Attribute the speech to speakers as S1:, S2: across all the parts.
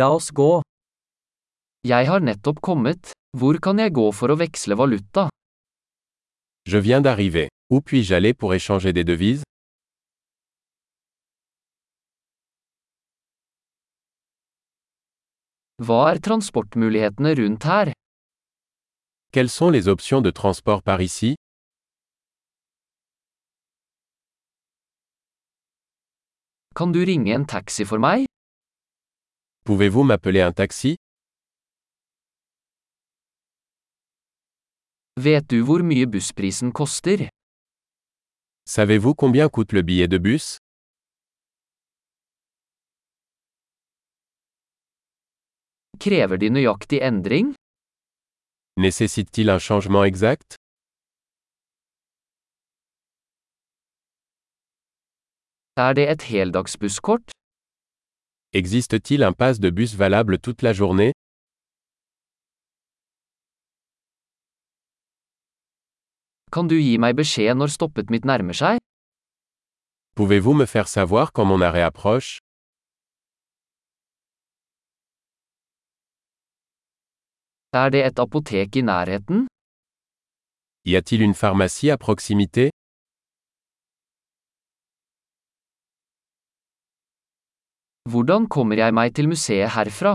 S1: La oss gå. Jeg har nettopp kommet. Hvor kan jeg gå for å veksle valuta?
S2: Je viens d'arriver. Où puis-je aller pour échanger des devises
S1: Hva er transportmulighetene rundt her?
S2: Quelles sont les options de transport par ici
S1: Kan du ringe en taxi for meg?
S2: Pouvez-vous m'appeler un taxi
S1: Vet du hvor mye bussprisen koster?
S2: Savez-vous combien coûte le billet de bus
S1: Krever de nøyaktig endring?
S2: Nécessite-t-il un changement exact
S1: Er det et heldagsbusskort?
S2: Existe-t-il un pass de bus valable toute la journée
S1: Kan du gi meg beskjed når stoppet mitt nærmer seg?
S2: Pouvez-vous me faire savoir quand mon arrêt approche
S1: Er det et apotek i nærheten?
S2: Y a-t-il une pharmacie à proximité
S1: Hvordan kommer jeg meg til museet herfra?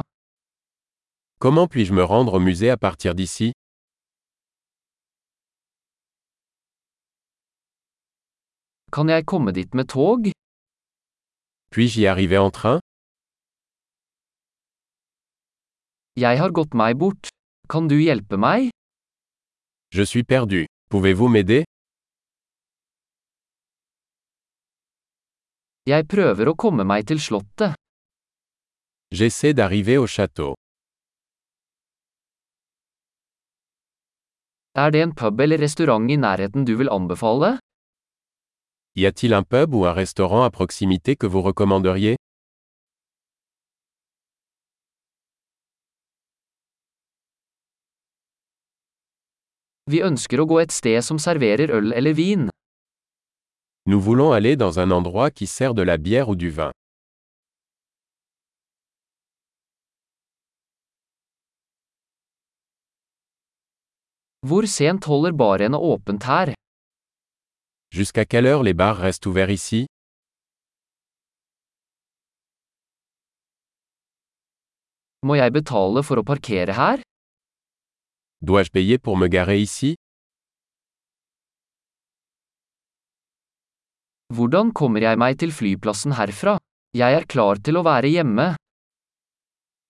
S2: Comment puis-je me rendre au musée à partir d'ici
S1: Kan jeg komme dit med tog?
S2: Puis-je y arriver en train
S1: Jeg har gått meg bort. Kan du hjelpe meg?
S2: Je suis perdu. Pouvez-vous m'aider
S1: Jeg prøver å komme meg til slottet.
S2: J'essaie d'arriver au château.
S1: Er det en pub eller restaurant i nærheten du vil anbefale?
S2: Y a-t-il un pub ou un restaurant à proximité que vous recommanderiez
S1: Vi ønsker å gå et sted som serverer øl eller vin.
S2: Nous voulons aller dans un endroit qui sert de la bière ou du vin.
S1: Hvor sent holder barene åpent her?
S2: Jusqu'à quelle heure les bars restent ouverts ici
S1: Må jeg betale for å parkere her?
S2: Dois-je payer pour me garer ici
S1: Hvordan kommer jeg meg til flyplassen herfra? Jeg er klar til å være hjemme.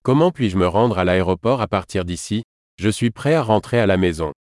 S2: Comment puis-je me rendre à l'aéroport à partir d'ici Je suis prêt à rentrer à la maison.